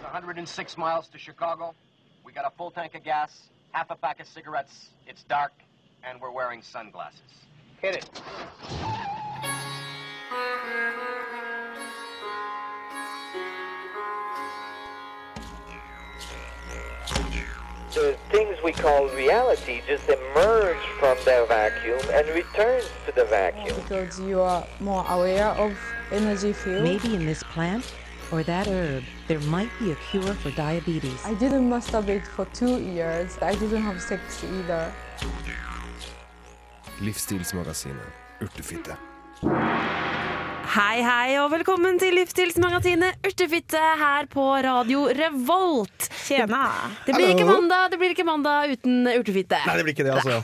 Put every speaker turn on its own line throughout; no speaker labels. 106 miles to Chicago. We got a full tank of gas, half a pack of cigarettes. It's dark, and we're wearing sunglasses. Hit it.
the things we call reality just emerge from their vacuum and returns to the vacuum.
because you are more aware of energy field.
Maybe in this plant or that herb, there might be a cure for diabetes.
I didn't masturbate for two years. I didn't have sex either.
Livsstilsmagasinet Urtefitte.
Hei, hei, og velkommen til Livsstilsmagasinet Urtefitte her på Radio Revolt.
Tjena.
Det blir ikke
Hallo.
mandag det blir ikke mandag uten urtefitte.
Nei, det blir ikke det, altså.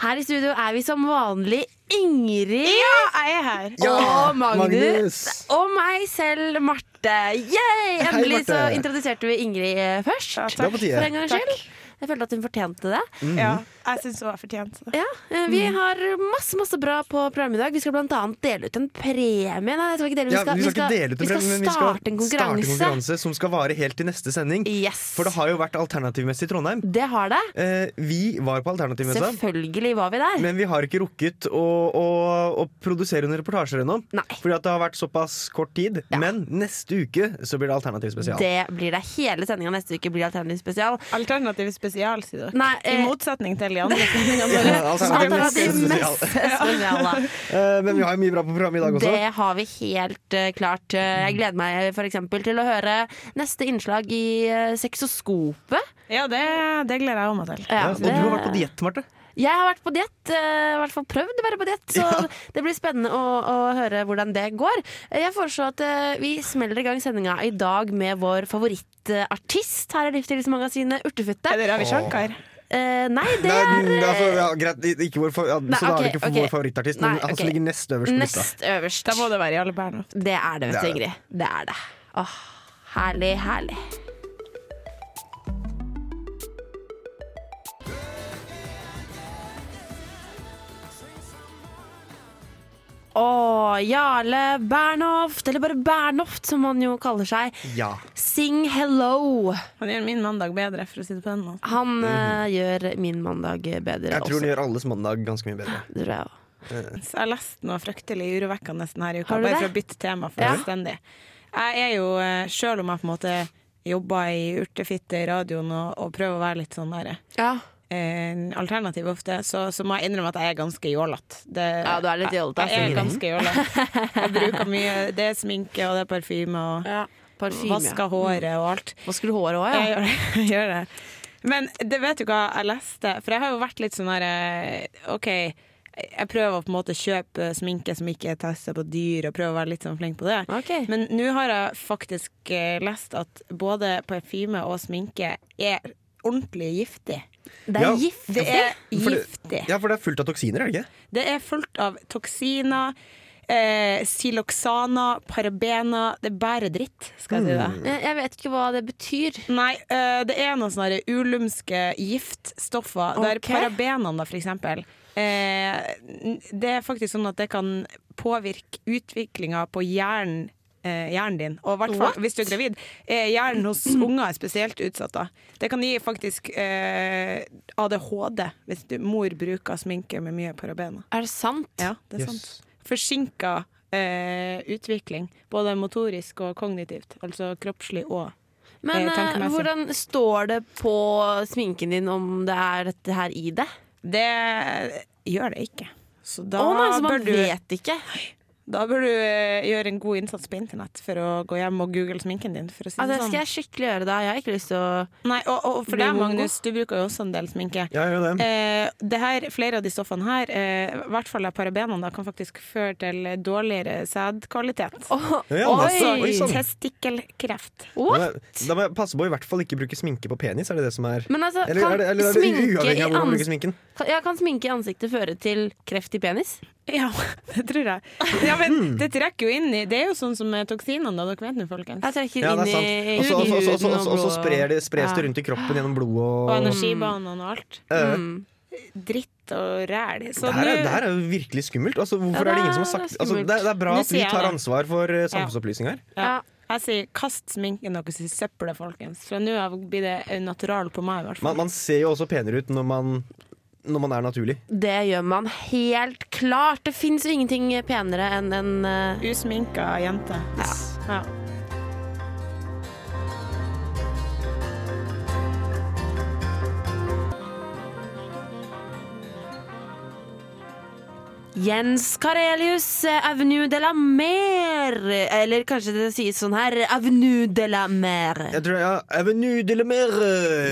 Her i studio er vi som vanlig Ingrid
Ja, jeg er her.
og Magnus. Og meg selv, Marte. Yay! Endelig så
Marte.
introduserte vi Ingrid eh, først.
Det var på tide.
For en gangs
Takk.
skyld. Jeg følte at hun fortjente det.
Ja, jeg syns det var fortjent.
Ja, eh, Vi
Mm.
har masse masse bra på programmet i dag. Vi skal bl.a. dele ut en premie. Nei, jeg skal ikke dele ut.
Ja, vi skal ikke dele ut
vi
det,
skal
men vi skal
starte en konkurranse.
som skal vare helt til neste sending.
Yes.
For det har jo vært alternativmesse i Trondheim.
Det har det.
Eh, vi var på alternativmessa,
Selvfølgelig var vi der.
men vi har ikke rukket å, å, å produsere noen reportasjer ennå.
Nei.
Fordi at det har vært såpass kort tid. Men neste uke så blir det alternativspesial.
Det blir det. Hele sendinga neste uke blir alternativ spesial.
Alternativ spesial, sier dere.
Nei,
I
eh,
motsetning til de andre sendingene våre.
alternativ
alternativ
spesial.
mest spesial, da.
Eh, men vi har jo mye bra på programmet i dag også.
Det har vi helt eh, klart. Eh, jeg gleder meg for eksempel til å høre neste innslag i uh, Sexoskopet.
Ja, det, det gleder jeg meg til.
Ja, og du har vært på diett, Marte.
Jeg har vært på diett. eh, I hvert fall prøvd å være på diett. Så det blir spennende å, å høre hvordan det går. Eh, Jeg foreslår at eh, vi smeller i gang sendinga i dag med vår favorittartist her i Livsstilsmagasinet, Urtefutte.
Er det Ravi Shankar?
Eh, nei, det
Nei,
er
mm, altså,
eh,
ja, greit, i- ikke vår, fa- ja,
Nei,
så da er det
ok,
ikke for
ok.
vår favorittartist, men
Nei,
han som
ok.
ligger nest øverst på lista.
eh, Nest øverst.
Da må det være Jarle Bernhoft.
Det er det,
Det
vet du,
er det.
Ingrid. Det er det. Åh, herlig, herlig. Åh, Jarle Bernhoft, eller bare Bernhoft som han jo kaller seg.
Ja.
Sing hello.
Han gjør min mandag bedre, for å si det på den måten.
Han eh, gjør min mandag bedre
Mhm. Jeg tror
også.
den gjør alles mandag ganske mye bedre.
tror jeg også.
Så Jeg har lest noe fryktelig urovekkende denne uka,
Har du
bare
det?
for å bytte tema
Ja.
fullstendig. Jeg er jo, eh, selv om jeg på en måte jobber i urtefitte i radioen og, og prøver å være litt sånn der,
Ja.
eh, alternativ ofte, så, så må jeg innrømme at jeg er ganske jålete.
Ja, du er litt jålete,
Jeg,
altså.
jeg er ganske jålete. Jeg bruker mye Det er sminke, og det er parfyme, og
Parfyme. ja.
vasker håret og alt.
Vasker du håret òg, ja?
Jeg gjør det. Jeg gjør det. Men det vet du hva jeg leste? For jeg har jo vært litt sånn her eh, OK, jeg prøver å på en måte kjøpe sminke som ikke er testa på dyr, og prøver å være litt sånn flink på det.
Ok.
Men nå har jeg faktisk eh, lest at både parfyme og sminke er ordentlig giftig.
Det er
Ja.
giftig.
Det er
For det-
giftig.
Ja, for det er fullt av toksiner, er det ikke?
Det er fullt av toksiner, eh, siloxaner, parabener. Det er bare dritt, skal jeg si det.
Jeg
Eh,
jeg vet ikke hva det betyr.
Nei, eh, det er noen sånne her ulumske giftstoffer, der
Ok.
parabenene da, for eksempel, eh, n- det er faktisk sånn at det kan påvirke utviklinga på hjernen, eh, hjernen din, og i hvert fall
What?
hvis du er gravid. Eh, hjernen hos unger er spesielt utsatt da. Det kan gi faktisk eh, ADHD, hvis du, mor bruker sminke med mye parabener.
Er det sant?
Ja, det er sant. Forsinka eh, utvikling, både motorisk og kognitivt, altså kroppslig og
Men eh,
Eh, tankemessig.
hvordan står det på sminken din om det er dette her i det?
Det gjør det ikke. Så da,
Å nei, så man
bør, du,
vet ikke.
da bør du eh, gjøre en god innsats på internett for å gå hjem og google sminken din. For å si
Ja, det
det sånn.
Altså, skal jeg skikkelig gjøre da. Jeg har ikke lyst til å
Nei, og, og for
Bli
deg,
mongo.
Magnus, du bruker jo også en del sminke.
Ja, gjør det.
Eh, det her, flere av de stoffene her, eh, i hvert fall av parabenene, da, kan faktisk føre til dårligere sædkvalitet.
Ja,
Og
oi,
også
oi, sånn.
testikkelkreft.
Da
What?
må, jeg- da må jeg passe på å i hvert fall ikke bruke sminke på penis, er det det som er
Men altså,
Eller
kan
er det, eller er det
sminke
uavhengig
i
av hvor man
ans-
bruker sminken?
Kan, ja, kan sminke i ansiktet føre til kreft i penis?
Ja, det tror jeg. Ja, men
Hmm.
det trekker jo inn i Det er jo sånn som med toksinene, da. Dere vet nå, folkens.
Jeg trekker
Ja, det er
inn i
sant. Også- også- også- også-
huden
også-
og
også sprer
blodet.
det- spres det rundt i kroppen gjennom blod og,
Og energibanene og alt.
Mm,
Eh,
dritt og ræl. Så
det, her er,
nå-
det her er jo virkelig skummelt. Altså, hvorfor
Ja,
er det ingen som
det
har
er
sagt altså, det,
skummelt.
er, det er bra
Nå
at
sier
vi
jeg
tar
det.
ansvar for eh, samfunnsopplysning her.
Ja.
Jeg sier kast sminken deres i søpla, folkens. Fra nå av blir det natural på meg, i hvert
Man,
fall.
man ser jo også penere ut når man, når man er naturlig.
Det gjør man helt klart. Det fins jo ingenting penere enn en eh,
Usminka jente. Ja.
Jens Karelius, eh, Avenue de la Mer. Eller kanskje det sies sånn her, Avenue de la Mer.
Jeg tror ja, Avenue de la Mer.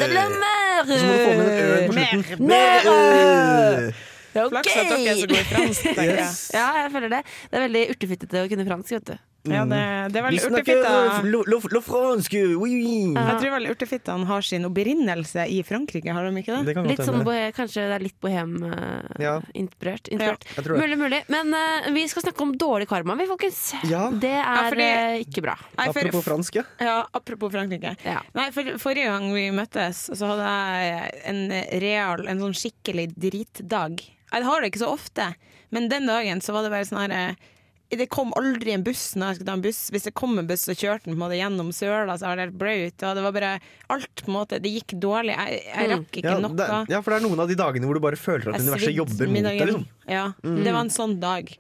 De la Mer!
Så må du få med den øen på slutten.
Mer.
Mer.
Flaks at dere er så gode i fransk. tenker jeg.
Yes.
Ja, jeg føler det. Det er veldig urtefittete å kunne fransk, vet du.
Ja, det, det er
Mm. Vi
vel
snakker
urtefitta.
eh, lo, lo, lo fransk, oui, oui.
Jeg tror vel urtefittaen har sin opprinnelse i Frankrike, har de ikke det?
Det kan
Litt
godt
sånn
hende.
bohe, kanskje det er litt bohem-inspirert.
Ja.
inspirert.
Jeg tror det.
Mulig, mulig. Men eh, vi skal snakke om dårlig karma, vi, folkens.
Ja.
Det er
Ja, fordi-
eh, ikke bra.
Nei, for-
Apropos fransk, ja.
Ja, apropos Frankrike.
Ja.
Nei, for, forrige gang vi møttes, så hadde jeg en real, en sånn skikkelig dritdag. Jeg har det ikke så ofte, men den dagen så var det bare sånn her eh, Det kom aldri en buss når jeg skulle ta en buss. Hvis det kom en buss, så kjørte den på en måte gjennom søla, så var det helt blaut. Og det var bare alt på en måte Det gikk dårlig. Jeg, jeg rakk ikke
Ja, det,
noe.
ja, for det er noen av de dagene hvor du bare føler at
Jeg
universet
svidde
jobber mot deg.
middagen.
Liksom.
Ja, det var en sånn dag.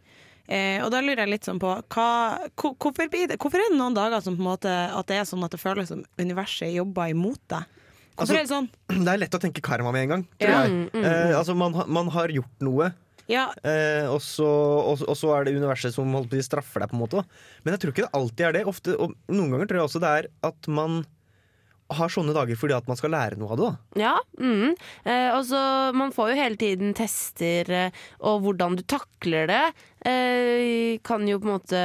Eh, og da lurer jeg litt sånn på hva, hvor, hvorfor, blir det, hvorfor er det noen dager som på en måte at det er sånn at det føles som universet jobber imot deg? Hvorfor
Altså-
er det sånn?
Det er lett å tenke karma med en gang, tror
Ja. Mm,
jeg. Eh, altså, man, har- man har gjort noe,
Ja,
eh, og, så, og, så- og så er det universet som holdt på å si straffer deg, på en måte. Da. Men jeg tror ikke det alltid er det. Ofte, og noen ganger tror jeg også det er at man har sånne dager fordi at man skal lære noe av det. Da.
Ja. Mm. Eh, og så Man får jo hele tiden tester, eh, og hvordan du takler det, eh, kan jo på en måte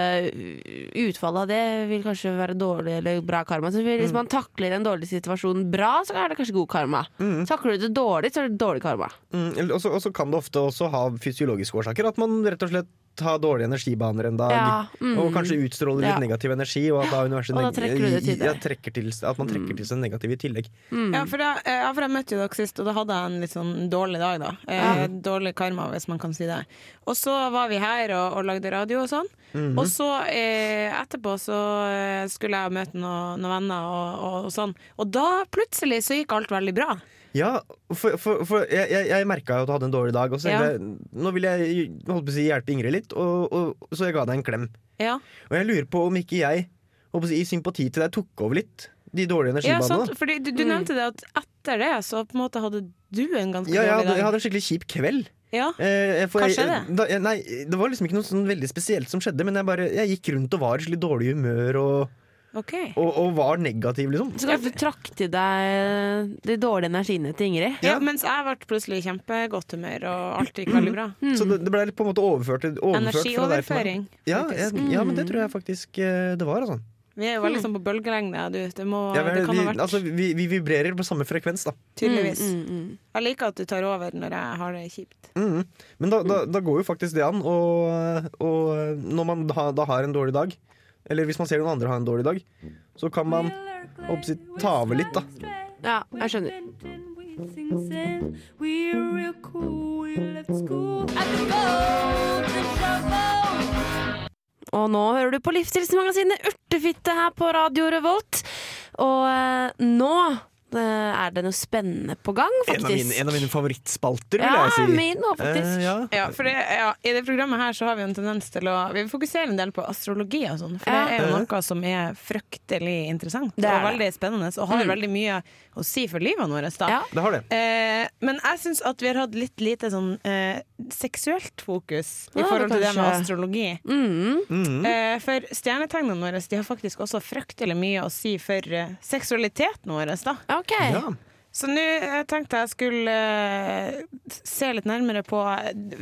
Utfallet av det vil kanskje være dårlig eller bra karma. Så
Mm.
hvis man takler en dårlig situasjon bra, så er det kanskje god karma. Takler du det dårlig, så er det dårlig karma.
Mm, eller- og så- og så kan det ofte også ha fysiologiske årsaker. At man rett og slett har dårlige energibaner en dag,
Ja, mm.
og kanskje utstråler
Ja.
litt negativ energi. Og at da universet
Og da
neg-
trekker du det til deg.
ja, trekker til, at man trekker til seg negativ i tillegg.
ja, for da, eh, ja, for jeg møtte jo dere sist, og da hadde jeg en litt sånn dårlig dag, da. Eh, Dårlig karma, hvis man kan si det. Og så var vi her og, og lagde radio og sånn.
Mhm.
Og så eh, etterpå så eh, skulle jeg møte noen, noen venner og, og, og sånn. Og da plutselig så gikk alt veldig bra.
Ja, for, for, for jeg, jeg, jeg merka jo at du hadde en dårlig dag. Og så
Ja.
tenkte jeg, nå vil jeg holdt på å si, hjelpe Ingrid litt, og, og, så jeg ga deg en klem.
Ja.
Og jeg lurer på om ikke jeg holdt på å si, i sympati til deg tok over litt de dårlige
Ja,
energibanene.
sant, fordi du, du
Mm.
nevnte det at etter det så på en måte hadde du en ganske
Ja, jeg
dårlig
hadde,
dag.
jeg hadde en skikkelig kjip kveld.
Ja.
Eh, for
Hva
jeg-
skjedde?
Da, eh, nei, det var liksom ikke noe sånn veldig spesielt som skjedde, men jeg, bare, jeg gikk rundt og var i skikkelig dårlig humør og,
ok.
og, og var negativ, liksom.
Så kanskje du trakk til deg de dårlige energiene til Ingrid.
Ja, mens jeg ble plutselig i kjempegodt humør, og alt gikk veldig bra.
Så det, det ble litt på en måte overført, overført fra deg til meg.
Energioverføring.
Ja, jeg, ja, men det tror jeg faktisk eh, det var. Altså.
Vi er jo
Mm.
veldig sånn på bølgelengde. Du, det, må,
Ja, vel,
det kan
vi,
ha vært
altså, vi, vi vibrerer på samme frekvens, da.
tydeligvis.
Mm,
Jeg liker at du tar over når jeg har det kjipt.
Mhm. Men da, da, da går jo faktisk det an. Og, og når man da, da har en dårlig dag, eller hvis man ser noen andre ha en dårlig dag, så kan man holdt på å si, ta over litt, da.
Ja, jeg skjønner. Og nå hører du på Livsstilsmagasinet Urtefitte her på Radio Revolt. Og eh, nå eh, er det noe spennende på gang,
En av,
faktisk.
mine, en av mine favorittspalter, vil
Ja,
jeg si.
min også, faktisk.
Eh, ja.
Ja, for det, ja, I det programmet her så har vi jo en tendens til å Vi fokuserer en del på astrologi og sånn, for det
Ja.
er jo
Eh,
noe som er fryktelig interessant
Det er
og veldig spennende, og har veldig mye å si for livet vårt. da.
Ja.
Det har det.
Eh, men jeg syns at vi har hatt litt lite sånn eh, seksuelt fokus i
Ja,
forhold til det med
kanskje.
astrologi.
Mm.
Eh, for stjernetegnene våre de har faktisk også fryktelig mye å si for eh, seksualiteten vår. Da.
OK.
Ja.
Så nå eh, tenkte jeg skulle eh, se litt nærmere på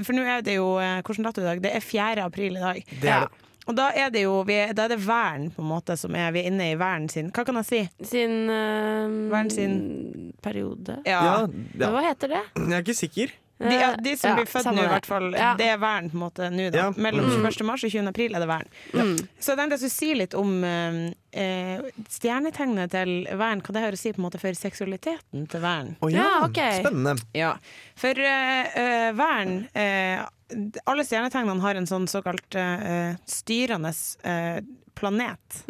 For nå er det jo eh, Hvilken dato i dag? Det er 4. april i dag.
Det er det.
Og da er det jo vi, er- Da er det væren på en måte som er Vi er inne i væren sin. Hva kan jeg si?
Sin eh,
Væren sin-
periode.
eh.
Ja, ja.
Hva heter det?
Jeg er ikke sikker.
De, ja, de som
Ja,
blir født
samme
nå, i
det.
hvert fall,
Ja.
det er vern på en måte nå, da.
Ja.
Mellom 21. mars og 20. april er det vern.
Mm.
Så jeg tenkte jeg skulle si litt om eh, eh, stjernetegnet til vern, hva det har å si på en måte for seksualiteten til vern.
Å
Ja, ok.
Spennende.
Ja, for eh, eh, vern eh, d- Alle
Mm.
stjernetegnene har en sånn såkalt eh, eh, styrende eh, planet.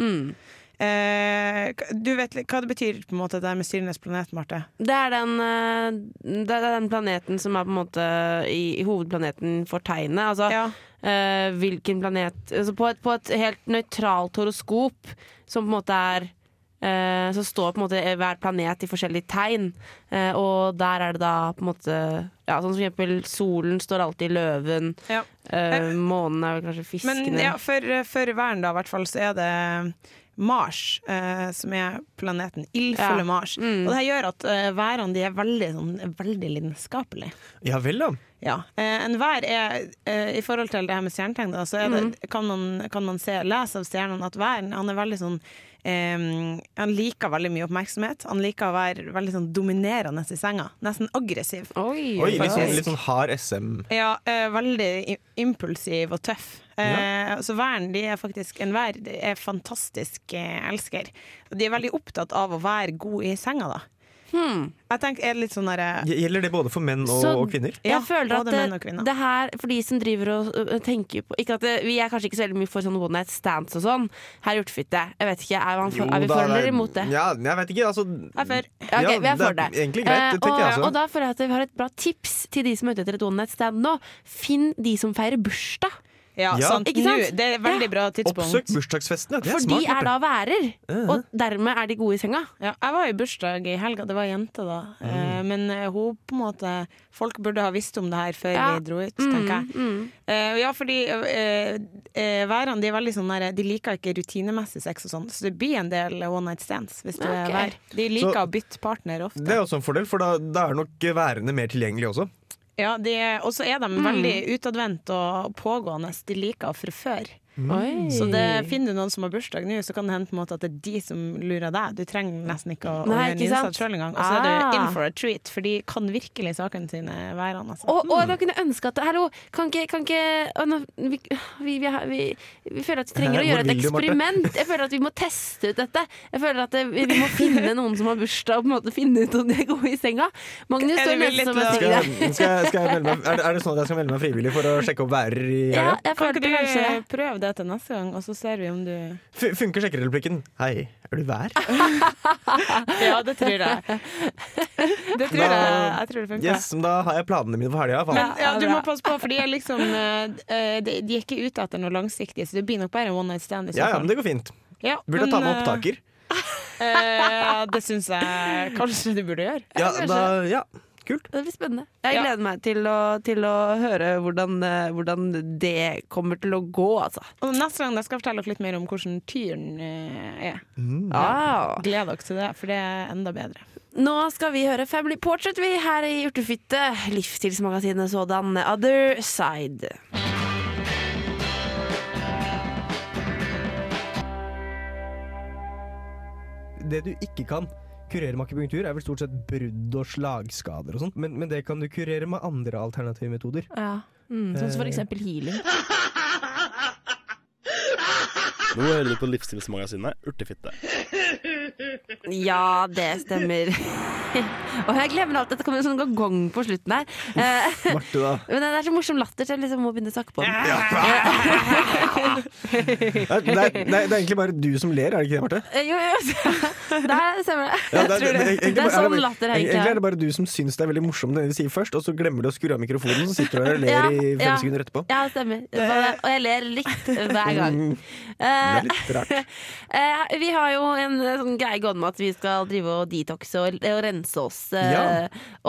Eh, du vet litt hva det betyr på en måte det der med Syrnes planet, Marte?
Det er den, eh, det er den planeten som er på en måte i, i hovedplaneten for tegnet. Altså
Ja.
eh, hvilken planet altså på, et, på et helt nøytralt horoskop som på en måte er eh, Så står på en måte hver planet i forskjellige tegn. Eh, og der er det da på en måte ja, Sånn som for eksempel solen står alltid i løven.
Ja.
Eh, månen er vel kanskje fiskene.
Men ja, for, for verden da, i hvert fall, så er det Mars, eh, som er planeten.
Ja.
Ildfulle
Mm.
Mars. Og det her gjør at eh, værene de er veldig, sånn, veldig lidenskapelige.
Ja vel, da.
Ja. Eh, en vær er, eh, i forhold til det her med stjernetegn, da, så er det,
Mm.
kan man, kan man se, lese av stjernene at væren han er veldig sånn eh, Han liker veldig mye oppmerksomhet. Han liker å være veldig sånn dominerende i senga. Nesten aggressiv.
Oi,
Oi, litt sånn,
faktisk.
litt sånn hard SM.
Ja, eh, veldig i- impulsiv og tøff. Eh, Så væren de er faktisk en vær de er fantastisk eh, elsker. De er veldig opptatt av å være god i senga, da.
Hmm.
Jeg tenker, er det litt sånn derre
Gjelder det både for menn og,
Så-
og kvinner?
Ja,
jeg føler at
både menn og
det,
kvinner.
det her, for de som driver og ø, tenker på ikke at det, Vi er kanskje ikke så veldig mye for sånn one night stands og sånn. Her er hjortefitte. Jeg vet ikke, er, man for, er vi for eller imot det?
Ja, jeg vet ikke, altså
Jeg er for. Ja, ok,
Ja,
vi er for
det
det.
er egentlig greit, det
Eh,
tenker
og,
jeg altså. også.
og da føler jeg at vi har et bra tips til de som er ute etter et one night stand nå. Finn de som feirer bursdag,
Ja,
Ja.
sant.
Ikke sant?
Nå, det er et veldig
Ja.
bra tidspunkt.
Oppsøk bursdagsfestene. Det er
for
smart.
de er da
Bjarte.
værer. Og dermed er de gode i senga.
Ja, jeg var i bursdag i helga, det var ei jente da.
Mm.
Eh, men eh, hun på en måte Folk burde ha visst om det her før
Ja.
vi dro ut,
Mm,
tenker jeg. Eh, ja, fordi eh, eh, værene de er veldig sånn der, De liker ikke rutinemessig sex og sånn, så det blir en del one night stands hvis du
Ok.
er vær. De liker
Så-
å bytte partner ofte.
Det er også en fordel, for da, da er nok værene mer tilgjengelige også.
Ja, de er- Og så er de veldig
Mm.
utadvendt og pågående. De liker å forføre.
Oi.
Mm. Så det, finner du noen som har bursdag nå, så kan det hende på en måte at det er de som lurer deg. Du trenger nesten ikke å, å
Nei,
gjøre en
ikke sant?
innsats sjøl engang. Og så er
Ah.
du in for a treat, for de kan virkelig sakene sine være an. Altså.
Og,
Mm.
og da kunne jeg ønske at Hallo, kan ikke, kan ikke å, nå, vi, vi, vi, har- vi, vi føler at vi trenger å
Hvor
gjøre et
vil du, Marte?
eksperiment. Jeg føler at vi må teste ut dette. Jeg føler at det, vi, vi må finne noen som har bursdag, og på en måte finne ut om de er gode i senga. Magnus
Er
står
du villig
nesten som
til å-
en
Skal
stygg
jeg, skal, jeg, skal jeg melde meg, er, det, er det sånn at jeg skal melde meg frivillig for å sjekke opp værer i
Ja, jeg
helga?
Kan ikke
følte
du
kanskje det.
prøve det til neste gang, og så ser vi om du
Fu- Funker sjekkereplikken? Hei, er du vær?
Ja, det tror jeg. Det tror jeg.
Da-
Jeg tror det funker.
Yes, men da har jeg planene mine for helga. faen.
Men ja,
Ja,
du
bra.
må passe på, for de er liksom eh, eh, De de er ikke ute etter noe langsiktig, så det blir nok bare en one night stand. i så
Ja, ja,
fall.
men det går fint.
Ja,
Burde jeg ta
men,
med opptaker.
eh, eh, det syns jeg kanskje du burde gjøre.
Ja,
kanskje.
da, ja. Kult.
Det blir spennende. Jeg
Ja.
gleder meg til å, til å høre hvordan, eh, hvordan det kommer til å gå, altså.
Og neste gang da skal jeg fortelle dere litt mer om hvordan tyren eh, er.
Mm.
Ah.
Gled dere til det, for det er enda bedre.
Nå skal vi høre Family Portrait, vi, her i Urtefitte. Livsstilsmagasinet sådan. Other Side.
Det du ikke kan kurere med akupunktur, er vel stort sett brudd og slagskader og sånt, men, men det kan du kurere med andre alternative metoder.
Sånn som for eksempel healing.
Nå hører du på Livsstilsmagasinet Urtefitte.
Ja, det stemmer. Og jeg glemmer alt. Dette kommer en sånn gong på slutten her. Eh,
Marte, da.
Men det er så morsom latter, så jeg liksom må begynne å snakke på den.
Det er, det, er, det er egentlig bare du som ler, er det ikke det, Marte?
Eh, Jo, jo, der stemmer det.
Ja,
Jeg tror det.
egentlig
Det er
bare-
sånn latter her,
Egentlig er det
egentlig.
bare du som syns det er veldig morsomt det du sier først, og så glemmer du å skru av mikrofonen, så sitter du der og ler
Ja,
i fem
ja.
sekunder etterpå. Mm,
Ja, det stemmer. Og jeg ler likt hver gang. Eh,
Det er litt rart.
Eh, vi har jo en eh, sånn greie gående med at vi skal drive og detoxe og, og rense oss. Eh,
Ja.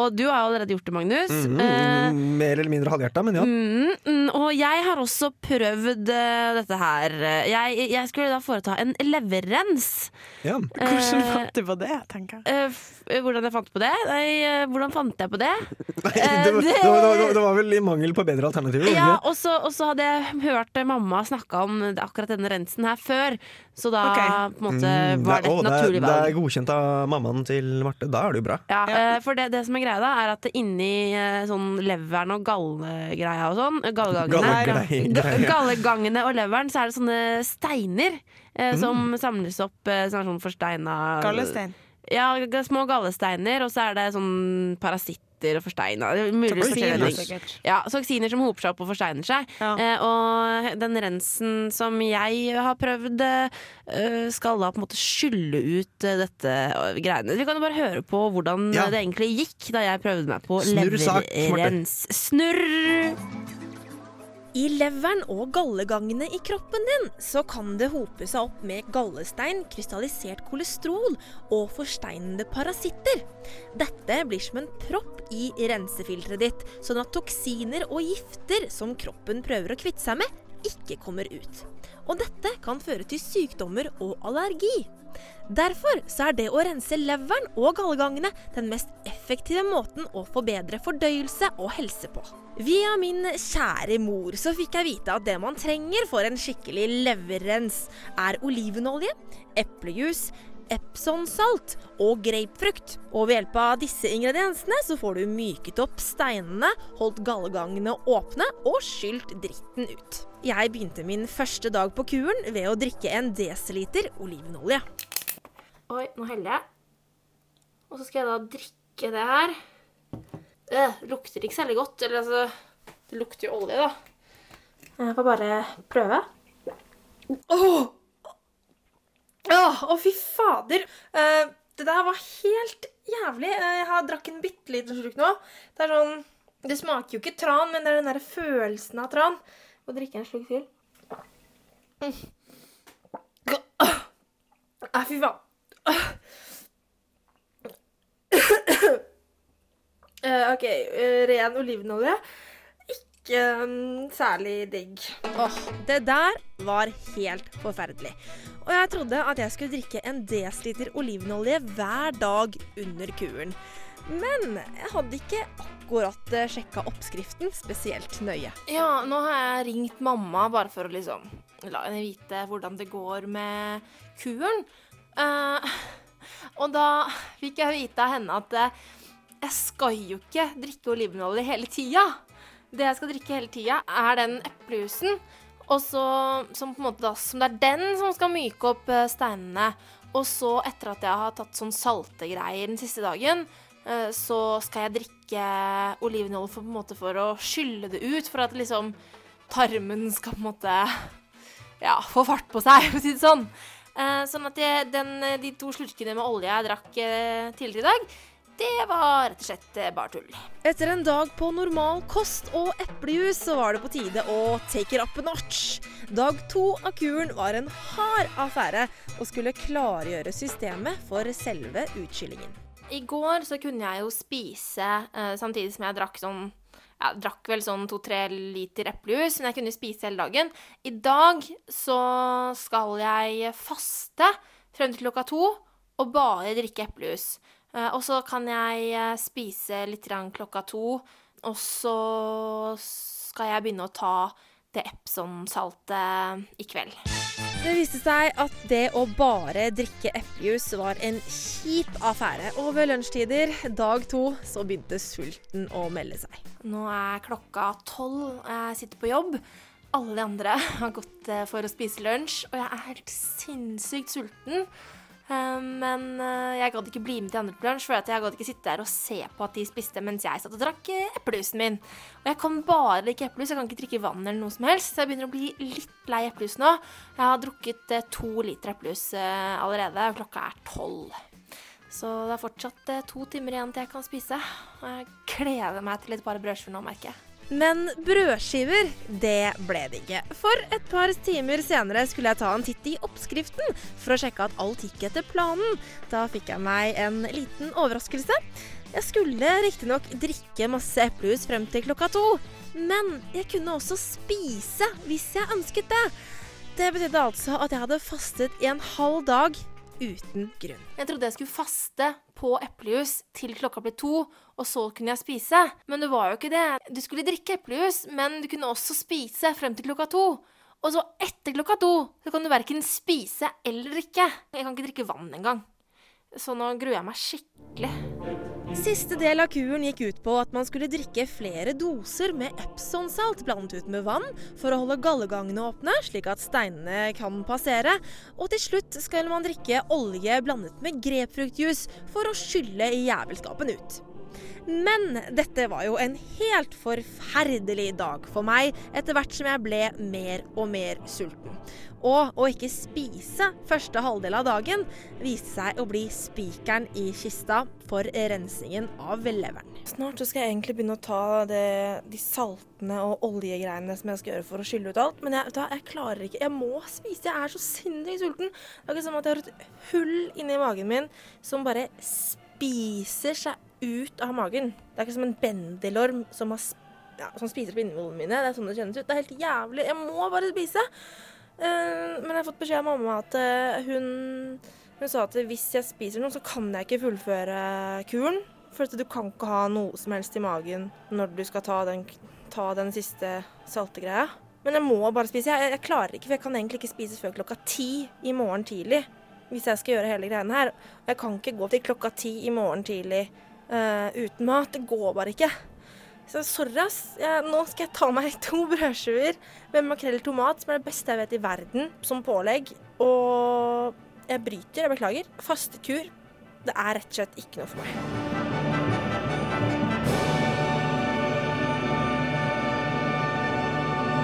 Og du har allerede gjort det, Magnus. Eh,
Mm, mer eller mindre halvhjerta, men ja.
Mm, mm, og jeg har også prøvd eh, dette her. Jeg, jeg skulle da foreta en leverrens.
ja.
Hvordan fant du på det, tenker jeg.
Eh, f- eh, hvordan jeg fant på det? Nei, eh, hvordan fant jeg på eh, det?
Nei, det, var, det, var, det var- det var vel i mangel på bedre alternativer.
Ja,
Ja.
og så og så hadde jeg hørt eh, mamma snakke om akkurat denne rensen her før, så da
Ok.
på en måte var det et naturlig
Mm, Det
valg.
er godkjent av mammaen til Marte. Da er det jo bra.
Ja, eh, for det, det som er greia da, er at det inni eh, sånn leveren og gallegreia og sånn, gallegangene,
Gallegrei-
ga-
greier.
gallegangene og leveren, så er det sånne steiner eh, som samles opp eh, sånn, sånn forsteina
Gallestein.
Ja, g- små gallesteiner, og så er det sånn parasitter og forsteina. Mulig
Toksiner,
forskjellige ting.
sikkert.
Ja, toksiner som hoper seg opp og forsteiner seg.
Ja.
Eh, og den rensen som jeg har prøvd, eh, skal da på en måte skylle ut eh, dette eh, greiene. Vi kan jo bare høre på hvordan
Ja.
eh, det egentlig gikk da jeg prøvde meg på
Snurr sak, Marte.
leverrens. Snurr!
I leveren og gallegangene i kroppen din så kan det hope seg opp med gallestein, krystallisert kolesterol og forsteinende parasitter. Dette blir som en propp i rensefilteret ditt, sånn at toksiner og gifter som kroppen prøver å kvitte seg med, ikke kommer ut. Og dette kan føre til sykdommer og allergi. Derfor så er det å rense leveren og gallegangene den mest effektive måten å forbedre fordøyelse og helse på. Via min kjære mor så fikk jeg vite at det man trenger for en skikkelig leverrens, er olivenolje, eplejus, Epsonsalt og grapefrukt. Og ved hjelp av disse ingrediensene så får du myket opp steinene, holdt gallegangene åpne og skylt dritten ut. Jeg begynte min første dag på kuren ved å drikke en desiliter olivenolje.
Oi, nå heller jeg. Og så skal jeg da drikke det her. Øh, lukter ikke særlig godt. Eller altså Det lukter jo olje, da. Jeg får bare prøve. Åh! Åh, å fy fader! Eh, det der var helt jævlig. Eh, jeg har drakk en bitte liten slurk nå. Det er sånn Det smaker jo ikke tran, men det er den der følelsen av tran. Må drikke en slurk til. Mm. Åh. Nei, fy faen. Eh, ok, eh, ren olivenolje. Ikke mm, særlig digg.
Åh, det der var helt forferdelig. Og jeg trodde at jeg skulle drikke en desiliter olivenolje hver dag under kuren. Men jeg hadde ikke akkurat eh, sjekka oppskriften spesielt nøye.
Ja, nå har jeg ringt mamma bare for å liksom la henne vite hvordan det går med kuren. Eh, og da fikk jeg vite av henne at eh, jeg skal jo ikke drikke olivenolje hele tida. Det jeg skal drikke hele tida, er den eplejusen. Og så, som på en måte da, som det er den som skal myke opp eh, steinene. Og så, etter at jeg har tatt sånn saltegreier den siste dagen, eh, så skal jeg drikke olivenolje for, på en måte for å skylle det ut, for at liksom tarmen skal på en måte ja, få fart på seg, for å si det sånn. Eh, Sånn at jeg, den, de to slurkene med olje jeg drakk eh, tidligere i dag, det var rett og slett eh, bare tull.
Etter en dag på normal kost og eplejus, så var det på tide å take it up a notch. Dag to av kuren var en hard affære og skulle klargjøre systemet for selve utkyllingen.
I går så kunne jeg jo spise eh, samtidig som jeg drakk sånn Jeg drakk vel sånn to-tre liter eplejus, men jeg kunne spise hele dagen. I dag så skal jeg faste frem til klokka to og bare drikke eplejus. Eh, og så kan jeg eh, spise litt grann klokka to, og så skal jeg begynne å ta det Epson-saltet i kveld.
Det viste seg at det å bare drikke eplejus var en kjip affære, og ved lunsjtider dag to så begynte sulten å melde seg.
Nå er klokka tolv, og jeg sitter på jobb. Alle de andre har gått eh, for å spise lunsj, og jeg er helt sinnssykt sulten. Eh, Men eh, jeg gadd ikke bli med de andre på lunsj, for at jeg gadd ikke sitte der og se på at de spiste mens jeg satt og drakk eh, eplejusen min. Og jeg kan bare drikke eplejus, jeg kan ikke drikke vann eller noe som helst, så jeg begynner å bli litt lei eplejus nå. Jeg har drukket eh, to liter eplejus eh, allerede, og klokka er tolv. Så det er fortsatt eh, to timer igjen til jeg kan spise. Og jeg gleder meg til et par brødskiver nå, merker jeg.
Men brødskiver, det ble det ikke. For et par timer senere skulle jeg ta en titt i oppskriften for å sjekke at alt gikk etter planen. Da fikk jeg meg en liten overraskelse. Jeg skulle riktignok drikke masse eplejus frem til klokka to, men jeg kunne også spise hvis jeg ønsket det. Det betydde altså at jeg hadde fastet i en halv dag uten grunn.
Jeg trodde jeg skulle faste på eplejus til klokka ble to, og så kunne jeg spise. Men det var jo ikke det. Du skulle drikke eplejus, men du kunne også spise frem til klokka to. Og så etter klokka to så kan du verken spise eller drikke. Jeg kan ikke drikke vann engang. Så nå gruer jeg meg skikkelig.
Siste del av kuren gikk ut på at man skulle drikke flere doser med Epsonsalt blandet ut med vann for å holde gallegangene åpne, slik at steinene kan passere. Og til slutt skal man drikke olje blandet med grepfruktjuice for å skylle jævelskapen ut. Men dette var jo en helt forferdelig dag for meg etter hvert som jeg ble mer og mer sulten. Og å ikke spise første halvdel av dagen viste seg å bli spikeren i kista for rensingen av leveren.
Snart så skal jeg egentlig begynne å ta det, de saltene og oljegreiene som jeg skal gjøre for å skylle ut alt, men jeg, vet du hva, jeg klarer ikke. Jeg må spise. Jeg er så sinnssykt sulten. Det er ikke som at jeg har et hull inni magen min som bare spiser seg ut av magen. Det er ikke som en bendelorm som, har, sp- ja, som spiser opp innvollene mine. Det er sånn det kjennes ut. Det er helt jævlig. Jeg må bare spise. Eh, men jeg har fått beskjed av mamma at eh, hun, hun sa at hvis jeg spiser noe, så kan jeg ikke fullføre kuren. For at du kan ikke ha noe som helst i magen når du skal ta den, ta den siste saltegreia. Men jeg må bare spise. Jeg, jeg klarer ikke, for jeg kan egentlig ikke spise før klokka ti i morgen tidlig. Hvis jeg skal gjøre hele greiene her. Og jeg kan ikke gå til klokka ti i morgen tidlig eh, uten mat. Det går bare ikke. Så sorry, ass. Jeg, nå skal jeg ta meg to brødskiver med makrell i tomat, som er det beste jeg vet i verden, som pålegg. Og jeg bryter, jeg beklager. Fastekur. Det er rett og slett ikke noe for meg.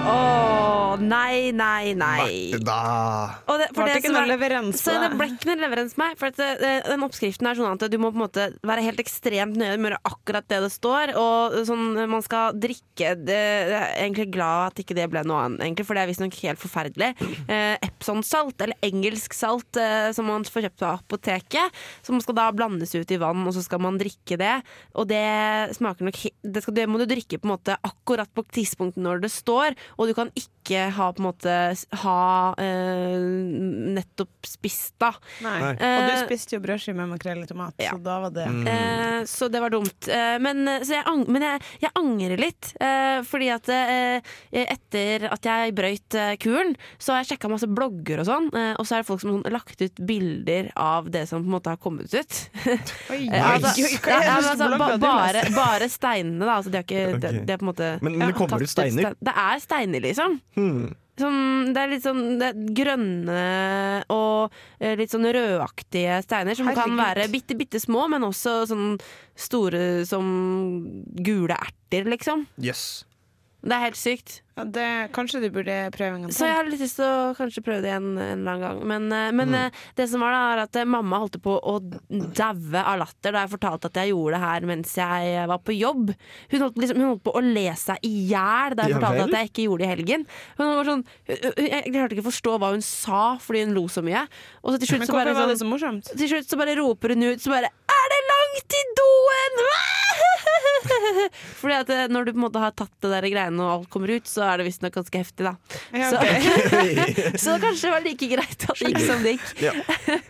Åh, nei, nei, nei.
Marte, da!
Og det, for
Ble
det,
det ikke
som
noe
er-
leveranse
så
på
det
det?
ble ikke noe leverans på meg. For at, eh, den oppskriften er sånn at du må på en måte være helt ekstremt nøye med å gjøre akkurat det det står. Og sånn, man skal drikke det, Jeg er egentlig glad at ikke det ble noe annet, egentlig, for det er visstnok helt forferdelig. Eh, Epsonsalt, eller engelsk salt, eh, som man får kjøpt på apoteket, som skal da blandes ut i vann, og så skal man drikke det. Og det smaker nok he- Det, skal, det må du drikke på en måte akkurat på tidspunktet når det står, og du kan ikke ha på en måte s- ha eh, nettopp spist, da.
Nei.
Nei. Mm.
Og du
Eh,
spiste jo brødskive med makrell i tomat,
Ja.
så da var det
Eh, så det var dumt. Eh, men eh, så jeg, ang men jeg, jeg angrer litt. Eh, fordi at eh, etter at jeg brøyt eh, kuren, så har jeg sjekka masse blogger og sånn. Eh, og så er det folk som har sånn, lagt ut bilder av det som på en måte har kommet ut.
Oi,
Eh, altså,
Nice.
Oi, hva
ja,
er det
ja, men
du
altså,
blogger
ba
du
bare,
leser?
bare steinene, da. Altså, de har ikke, de,
Ok.
de er på en måte
Men- men det
ja,
kommer
tatt
ut steiner?
stein- Det er steiner, liksom.
Hmm.
Sånn, det er litt sånn det er grønne og eh, litt sånn rødaktige steiner, som kan være
Herregud.
bitte, bitte små, men også sånn store som gule erter, liksom.
Jøss.
Det er helt sykt.
Ja, det, kanskje du burde prøve en gang
Så jeg har litt lyst til å kanskje prøve det igjen en eller annen gang. Men, eh, men
Mm.
eh, det som var da, er at eh, mamma holdt på å daue av latter da jeg fortalte at jeg gjorde det her mens jeg eh, var på jobb. Hun holdt, liksom, hun holdt på å le seg i hjel da jeg
Ja
fortalte
vel?
at jeg ikke gjorde det i helgen. Hun var sånn, hun- hun- jeg klarte ikke å forstå hva hun sa fordi hun lo så mye. Og så til
Men
slutt så
hvorfor
bare
var det
sånn,
så morsomt?
til slutt så bare roper hun ut så bare Er det langt til doen?! Fordi at eh, når du på en måte har tatt det der greiene og alt kommer ut, så er det visstnok ganske heftig, da.
Ja,
Så-
ok.
så kanskje det var like greit at det gikk som det gikk.
Ja.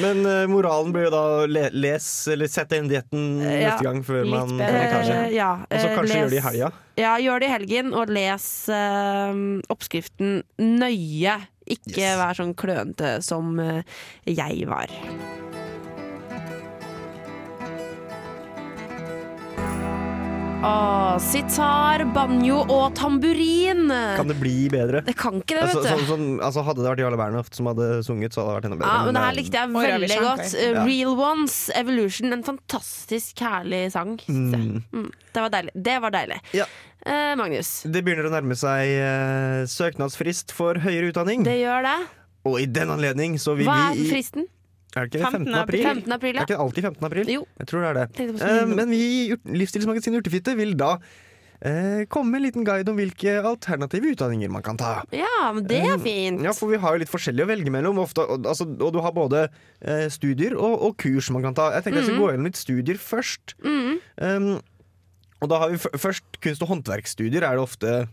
Men eh, moralen blir jo da le les, eller sett den dietten
Ja,
neste gang før man
bedre.
eh, kanskje.
Eh, ja,
Og så
eh,
kanskje gjør det i
les-
helga.
Ja, gjør det i helgen, og les eh, oppskriften nøye. Ikke
Yes.
vær sånn klønete som eh, jeg var. Åh, sitar, banjo og tamburin.
Kan det bli bedre?
Det kan ikke det,
Altså,
vet du.
sånn, sånn, altså, hadde det vært Jarle Bernhoft som hadde sunget, så hadde det vært enda bedre.
Ja, men det her
eh,
likte Ah, jeg
Oi, ja, vi
veldig
skjønte
godt.
det.
Eh,
Ja.
Real Ones, Evolution. En fantastisk herlig sang.
Mm.
Mm, det var deilig. Det var deilig.
Ja.
Eh, Magnus,
Det begynner å nærme seg eh, søknadsfrist for høyere utdanning.
det gjør det.
Og i den anledning så Mm. vil
Hva er
vi i
fristen?
Er det ikke 15.
15.
april?
april.
15. april,
Er
ja.
ikke det alltid 15. april?
Jo.
Jeg tror det er det.
Tenkte på
Eh,
sånn-
men vi i Urt- Livsstilsmagasinet Urtefitte vil da eh, komme med en liten guide om hvilke alternative utdanninger man kan ta. Eh,
Ja, men det er fint.
Mm, Ja, for vi har jo litt forskjellig å velge mellom. Ofte, og, altså, og du har både eh, studier og, og kurs man kan ta. Jeg tenker jeg skal gå gjennom litt studier først.
Mm.
Um, og da har vi f først kunst- og håndverksstudier er det ofte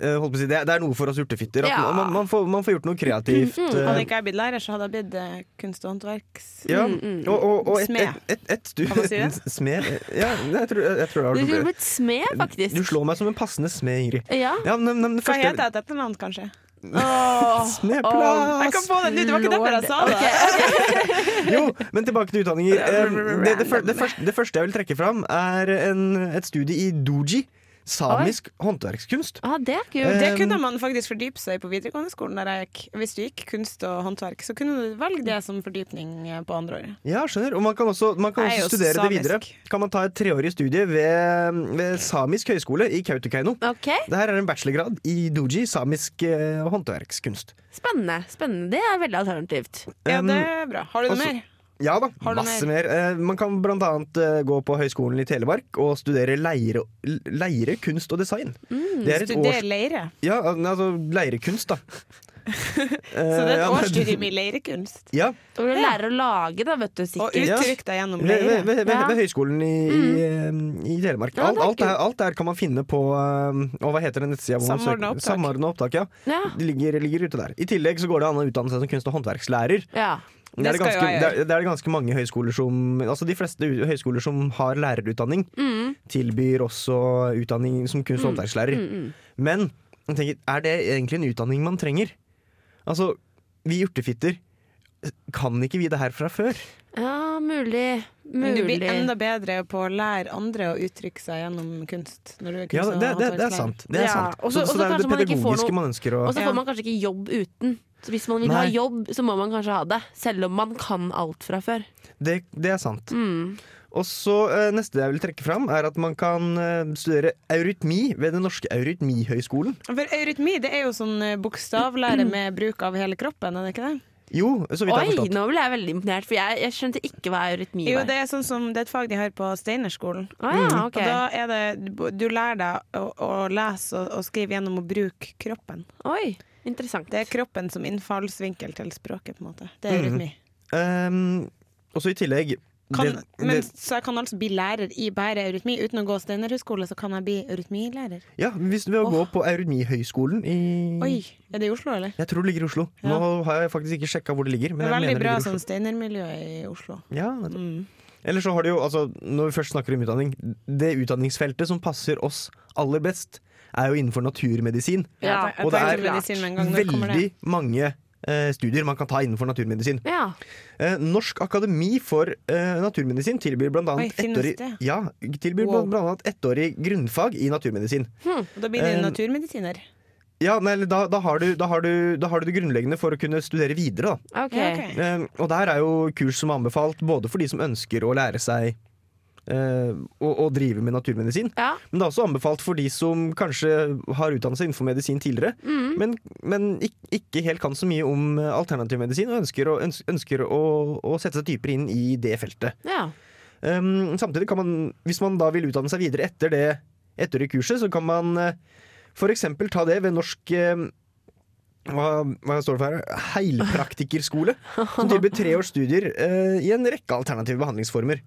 eh, holdt på å si, det, er- det er noe for oss urtefitter. At
Ja.
man, man, får, man får gjort noe kreativt. eh,
Hadde ikke jeg blitt lærer, så hadde jeg blitt eh, kunst- og håndverks...
ja. Og, og, og et,
Smed.
et, et, et stu-
Kan man si det?
Smed? Ja, jeg tror, jeg, jeg
Du
tror det Eh, har
kunne
vært
blitt smed, faktisk.
Du slår meg som en passende smed, Ingrid.
Ja.
Ja, men, men, det
Hva
første-
heter jeg til etternavn, kanskje?
Åh,
Jeg kan få den nå, det var ikke derfor jeg sa det.
Jo, men tilbake til utdanninger. Eh, Det, det, fyr- det, første, det første jeg vil trekke fram, er en, et studie i doji. Samisk håndverkskunst.
Ah, det er kult.
Eh,
Det kunne man faktisk fordype seg i på videregående skolen. Der jeg gikk. Hvis du gikk kunst og håndverk, så kunne du velge det som fordypning eh, på andre året.
Ja, skjønner. Og man kan også, man kan
Jeg er jo
også studere
samisk.
det videre. Kan man ta et treårig studie ved, ved Samisk høgskole i Kautokeino.
Ok,
Det her er en bachelorgrad i doji, samisk eh, håndverkskunst.
spennende. spennende. Det er veldig alternativt.
Ja,
Um,
det er bra. Har du noe
altså-
mer?
Ja da,
Har du
masse mer. Eh, Man kan blant annet eh, gå på Høgskolen i Telemark og studere leire, leire kunst og design. det er et
Mm, Studere
års,
leire.
ja, altså leirekunst, da. Eh,
Så det er et
ja, men-
årsstudium i leirekunst.
Ja,
Og du lærer å lage, da, vet du
Og
sikkert.
Ja.
uttrykk deg gjennom
ved, ved,
leire. Mm.
ved,
Ja.
ved Høgskolen i, i, i Telemark.
Ja,
alt,
det er
alt, det her, alt det her kan man finne på eh, og hva heter den nettsida? hvor man
Samordna
søker-
opptak.
Samordna opptak. ja.
Ja.
Det ligger, ligger ute der. I tillegg så går det an å utdanne seg som kunst- og håndverkslærer.
ja.
Det er det,
skal jo
ganske,
jeg
det,
gjøre.
er, det er det ganske mange høyskoler som Altså De fleste u- høyskoler som har lærerutdanning,
Mm.
tilbyr også utdanning som kunst- og håndverkslærer.
mm.
Men jeg tenker, er det egentlig en utdanning man trenger? Altså, vi hjortefitter, kan ikke vi det her fra før?
ja, mulig.
Men du blir
Mulig.
enda bedre på å lære andre å uttrykke seg gjennom kunst. Når du er
Ja,
kunst
det, det, det er sant. Det er
Ja,
sant.
og så-
så,
og så
det er det
kanskje man ikke får
pedagogiske
noe-
man ønsker å
Og så
Ja.
får man kanskje ikke jobb uten. Så hvis man vil ha
Nei.
jobb, så må man kanskje ha det. Selv om man kan alt fra før.
Det, det er sant.
Mm.
Og så eh, Neste jeg vil trekke fram, er at man kan eh, studere eurytmi ved Den norske eurytmihøgskolen.
For eurytmi det er jo sånn eh, bokstavlære med bruk av hele kroppen, er det ikke det?
Jo, så vidt jeg har
Oi,
forstått.
nå ble jeg veldig imponert, for jeg, jeg skjønte ikke hva eurytmi
Jo,
var.
det er sånn som det er et fag de har på Steinerskolen.
Å Ah, ja,
Mm.
ok.
Og da er det, du lærer deg å, å lese og, og skrive gjennom å bruke kroppen.
Oi, interessant.
Det er kroppen som innfallsvinkel til språket, på en måte.
Mm.
Det er rytmi.
Ehm, og så i tillegg
Kan,
det,
men,
det,
så jeg kan altså bli lærer i bare eurytmi. Uten å gå Steinerhøgskole, så kan jeg bli eurytmilærer.
Ja, hvis du vil gå på Eurytmihøgskolen i
Oi! Er det i Oslo, eller?
Jeg tror det ligger i Oslo.
Ja.
Nå har jeg faktisk ikke sjekka hvor det ligger.
Det
Men
er
jeg
veldig
mener
bra Mm.
det ligger i
sånn
Oslo.
Steinermiljø i Oslo.
Ja, nettopp. Eller så har du jo, altså, når vi først snakker om utdanning, det utdanningsfeltet som passer oss aller best, er jo innenfor naturmedisin.
Ja,
Jeg
og det
tenkte
er
medisin med en gang. Når kommer
Veldig
det?
mange eh, studier man kan ta innenfor naturmedisin.
Ja.
Eh, Norsk akademi for eh, naturmedisin tilbyr blant
Oi,
annet
finnes
ettårig,
det?
ja, tilbyr
Wow.
blant annet ettårig grunnfag i naturmedisin.
hmm,
Og da blir det
Eh,
naturmedisiner.
Ja, nei, eller da, da, har du, da, har du, da har du det grunnleggende for å kunne studere videre. Da.
Ok.
Ja, ok.
Eh, og der er jo kurs som er anbefalt både for de som ønsker å lære seg eh, å, å drive med naturmedisin,
Ja.
men det er også anbefalt for de som kanskje har utdannet seg innenfor medisin tidligere,
mm,
men, men ikke, ikke helt kan så mye om eh, alternativ medisin og ønsker, å, øns- ønsker å, å sette seg dypere inn i det feltet.
ja.
Um, samtidig kan man, hvis man da vil utdanne seg videre etter det, etter det kurset, så kan man uh, for eksempel ta det ved norsk eh, hva, hva står det for her? Heilpraktikerskole. Som tilbyr tre års studier eh, i en rekke alternative behandlingsformer.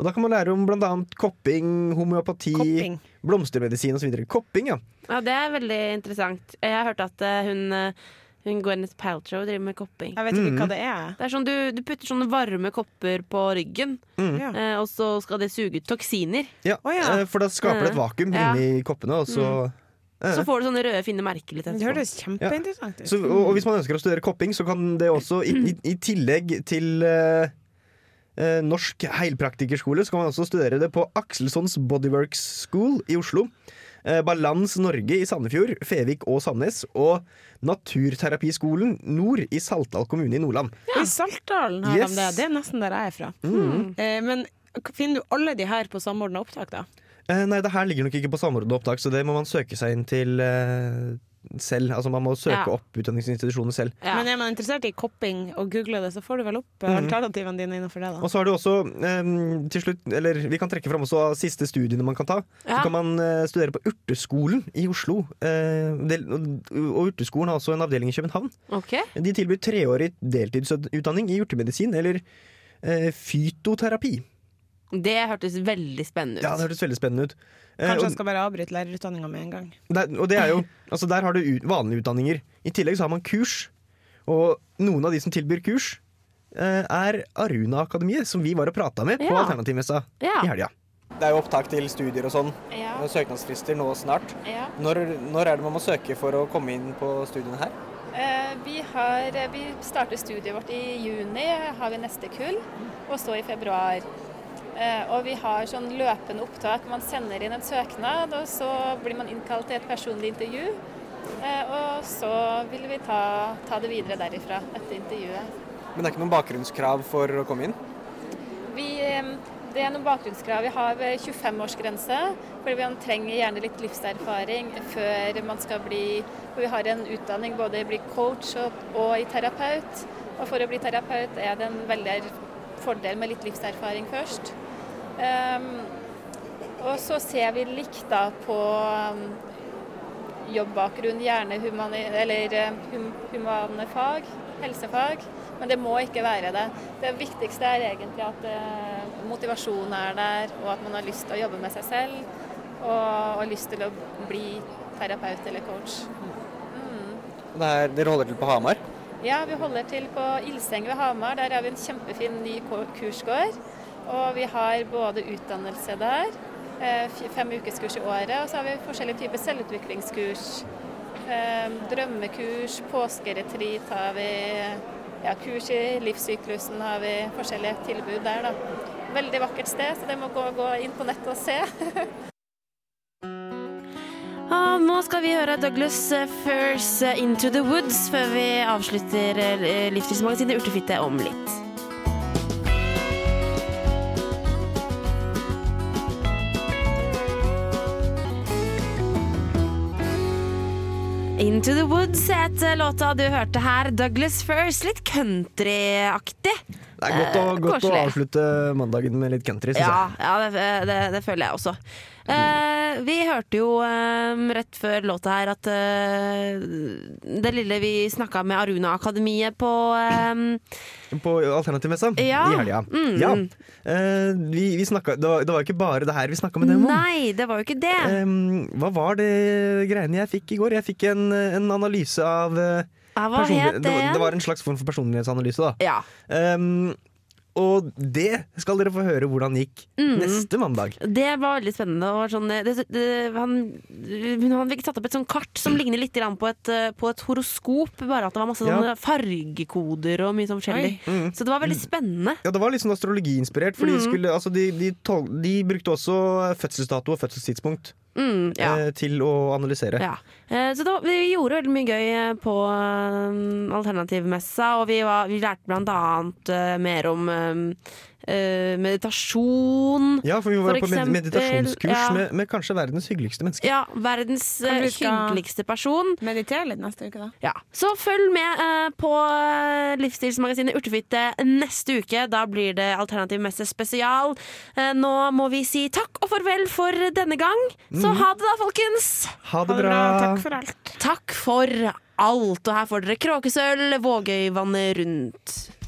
Og Da kan man lære om bl.a. kopping, homeopati,
Kopping.
blomstermedisin osv. Kopping, ja.
ja, det er veldig interessant. Jeg har hørt at eh, hun, eh, hun Gwyneth Paltrow driver med kopping.
Jeg vet ikke
Mm.
hva det er.
Det er sånn du, du putter sånne varme kopper på ryggen,
Mm.
Ja.
eh, og så skal det suge ut toksiner.
ja.
Å, ja. Mm.
eh, for da skaper det et vakuum
Ja.
inni koppene, og så eh.
Så får du sånne røde, fine merker litt
Det
etterpå.
høres kjempeinteressant ut.
Så, og, og hvis man ønsker å studere kopping, så kan det også, i, i, i tillegg til eh, eh, norsk heilpraktikerskole, så kan man også studere det på Akselsons Bodyworks School i Oslo. eh, Balans Norge i Sandefjord, Fevik og Sandnes. Og Naturterapiskolen Nord i Saltdal kommune i Nordland.
I Saltdalen har
Yes.
de det. Det er nesten der jeg er fra.
Mm.
Eh, men finner du alle de her på samordna opptak, da?
Eh, nei, det her ligger nok ikke på samordnet opptak, så det må man søke seg inn til eh, selv. Altså man må søke
Ja.
opp utdanningsinstitusjonen selv.
Ja.
Men er man interessert i kopping og googler det, så får du vel opp eh, alternativene dine innenfor det, da.
Mm. Og så har du også eh, til slutt, eller vi kan trekke fram også siste studiene man kan ta.
Ja.
Så kan man eh, studere på Urteskolen i Oslo. Eh, del, og, og Urteskolen har også en avdeling i København.
Ok.
De tilbyr treårig deltidsutdanning i urtemedisin eller eh, fytoterapi.
Det hørtes veldig spennende ut.
Ja, det hørtes veldig spennende ut. Eh,
Kanskje
og,
jeg skal bare avbryte lærerutdanninga med en gang.
der, og det er jo, altså der har du u- vanlige utdanninger. I tillegg så har man kurs. Og noen av de som tilbyr kurs, eh, er Aruna Akademiet, som vi var og prata med på
Ja.
Alternativmessa
Ja.
i helga. Det er jo opptak til studier og sånn.
Ja.
Søknadsfrister nå snart.
Ja.
Når, når er det man må søke for å komme inn på studiene her?
Eh, Vi, har, vi starter studiet vårt i juni, har vi neste kull, og så i februar. Eh, Og vi har sånn løpende opptak. Man sender inn en søknad, og så blir man innkalt til et personlig intervju. Eh, Og så vil vi ta, ta det videre derifra etter intervjuet.
Men det er ikke noen bakgrunnskrav for å komme inn?
Vi, eh, det er noen bakgrunnskrav. Vi har eh, 25-årsgrense, fordi man trenger gjerne litt livserfaring før man skal bli For vi har en utdanning både i å bli coach og, og i terapeut. Og for å bli terapeut er det en veldig er- fordel med litt livserfaring først. Ehm, og så ser vi likt da på um, jobbbakgrunn, gjerne humani, eller eh, hum, humane fag, helsefag. Men det må ikke være det. Det viktigste er egentlig at eh, motivasjonen er der, og at man har lyst til å jobbe med seg selv. Og, og lyst til å bli terapeut eller coach.
Det er, dere holder til på Hamar?
Ja, vi holder til på Ilseng ved Hamar. Der har vi en kjempefin ny ko- kursgård. Og vi har både utdannelse der, eh, f- fem ukeskurs i året, og så har vi forskjellige typer selvutviklingskurs. Eh, Drømmekurs, påskeretreat har vi, ja, kurs i livssyklusen har vi forskjellige tilbud der, da. Veldig vakkert sted, så det må gå, gå inn på nettet og se.
Og Ah, nå skal vi høre Douglas eh, Furs eh, 'Into the Woods' før vi avslutter eh, Livsstilsmagasinet Urtefitte om litt. Into the Woods het eh, låta du hørte her. Douglas Furs, litt countryaktig.
Det er godt å,
Eh,
godt å
koselig.
avslutte mandagen med litt country, syns
Ja, ja det, det, det føler jeg også. Eh, vi hørte jo eh, rett før låta her at eh, det lille vi snakka med Aruna-akademiet på eh,
jeg. På Alternativmessa
Ja.
i helga.
Mm.
Ja. Eh, vi, vi snakka, det, var, det var ikke bare det her vi snakka med dem om.
Nei, det var jo ikke det.
Em, hva var det greiene jeg fikk i går? Jeg fikk en, en analyse av eh,
Ja, hva
personlig-
het det
det, var-
igjen?
det var en slags form for personlighetsanalyse, da.
Ja.
Em, og det skal dere få høre hvordan gikk
Mm.
neste mandag.
Det var veldig spennende. Det var sånn, det, det, han, hun- han fikk satt opp et sånn kart som ligner litt grann på et, eh, på et horoskop, bare at det var masse
Ja.
sånne fargekoder og mye sånn forskjellig.
Mm.
Så det var veldig spennende.
Ja, det var litt sånn astrologiinspirert, for de,
Mm.
skulle, altså de, de, tol de brukte også fødselsdato og fødselstidspunkt
Mm, ja.
eh, til å analysere.
Ja. Eh, Så da, vi gjorde veldig mye gøy eh, på eh, alternativmessa, og vi, var, vi lærte blant annet eh, mer om eh, eh, meditasjon.
Ja, for vi var
For
på med-
eksempel,
meditasjonskurs
ja.
med, med kanskje verdens hyggeligste menneske.
Ja, verdens eh,
Kanskje vi skal-
hyggeligste person.
Meditere litt neste uke, da.
Ja. Så følg med eh, på eh, livsstilsmagasinet Urtefitte neste uke. Da blir det Alternativ messe spesial. Eh, nå må vi si takk og farvel for denne gang. Så
Mhm.
ha det da, folkens!
Ha det bra!
for alt.
Takk for alt. Og her får dere Kråkesølv, Vågøyvannet rundt.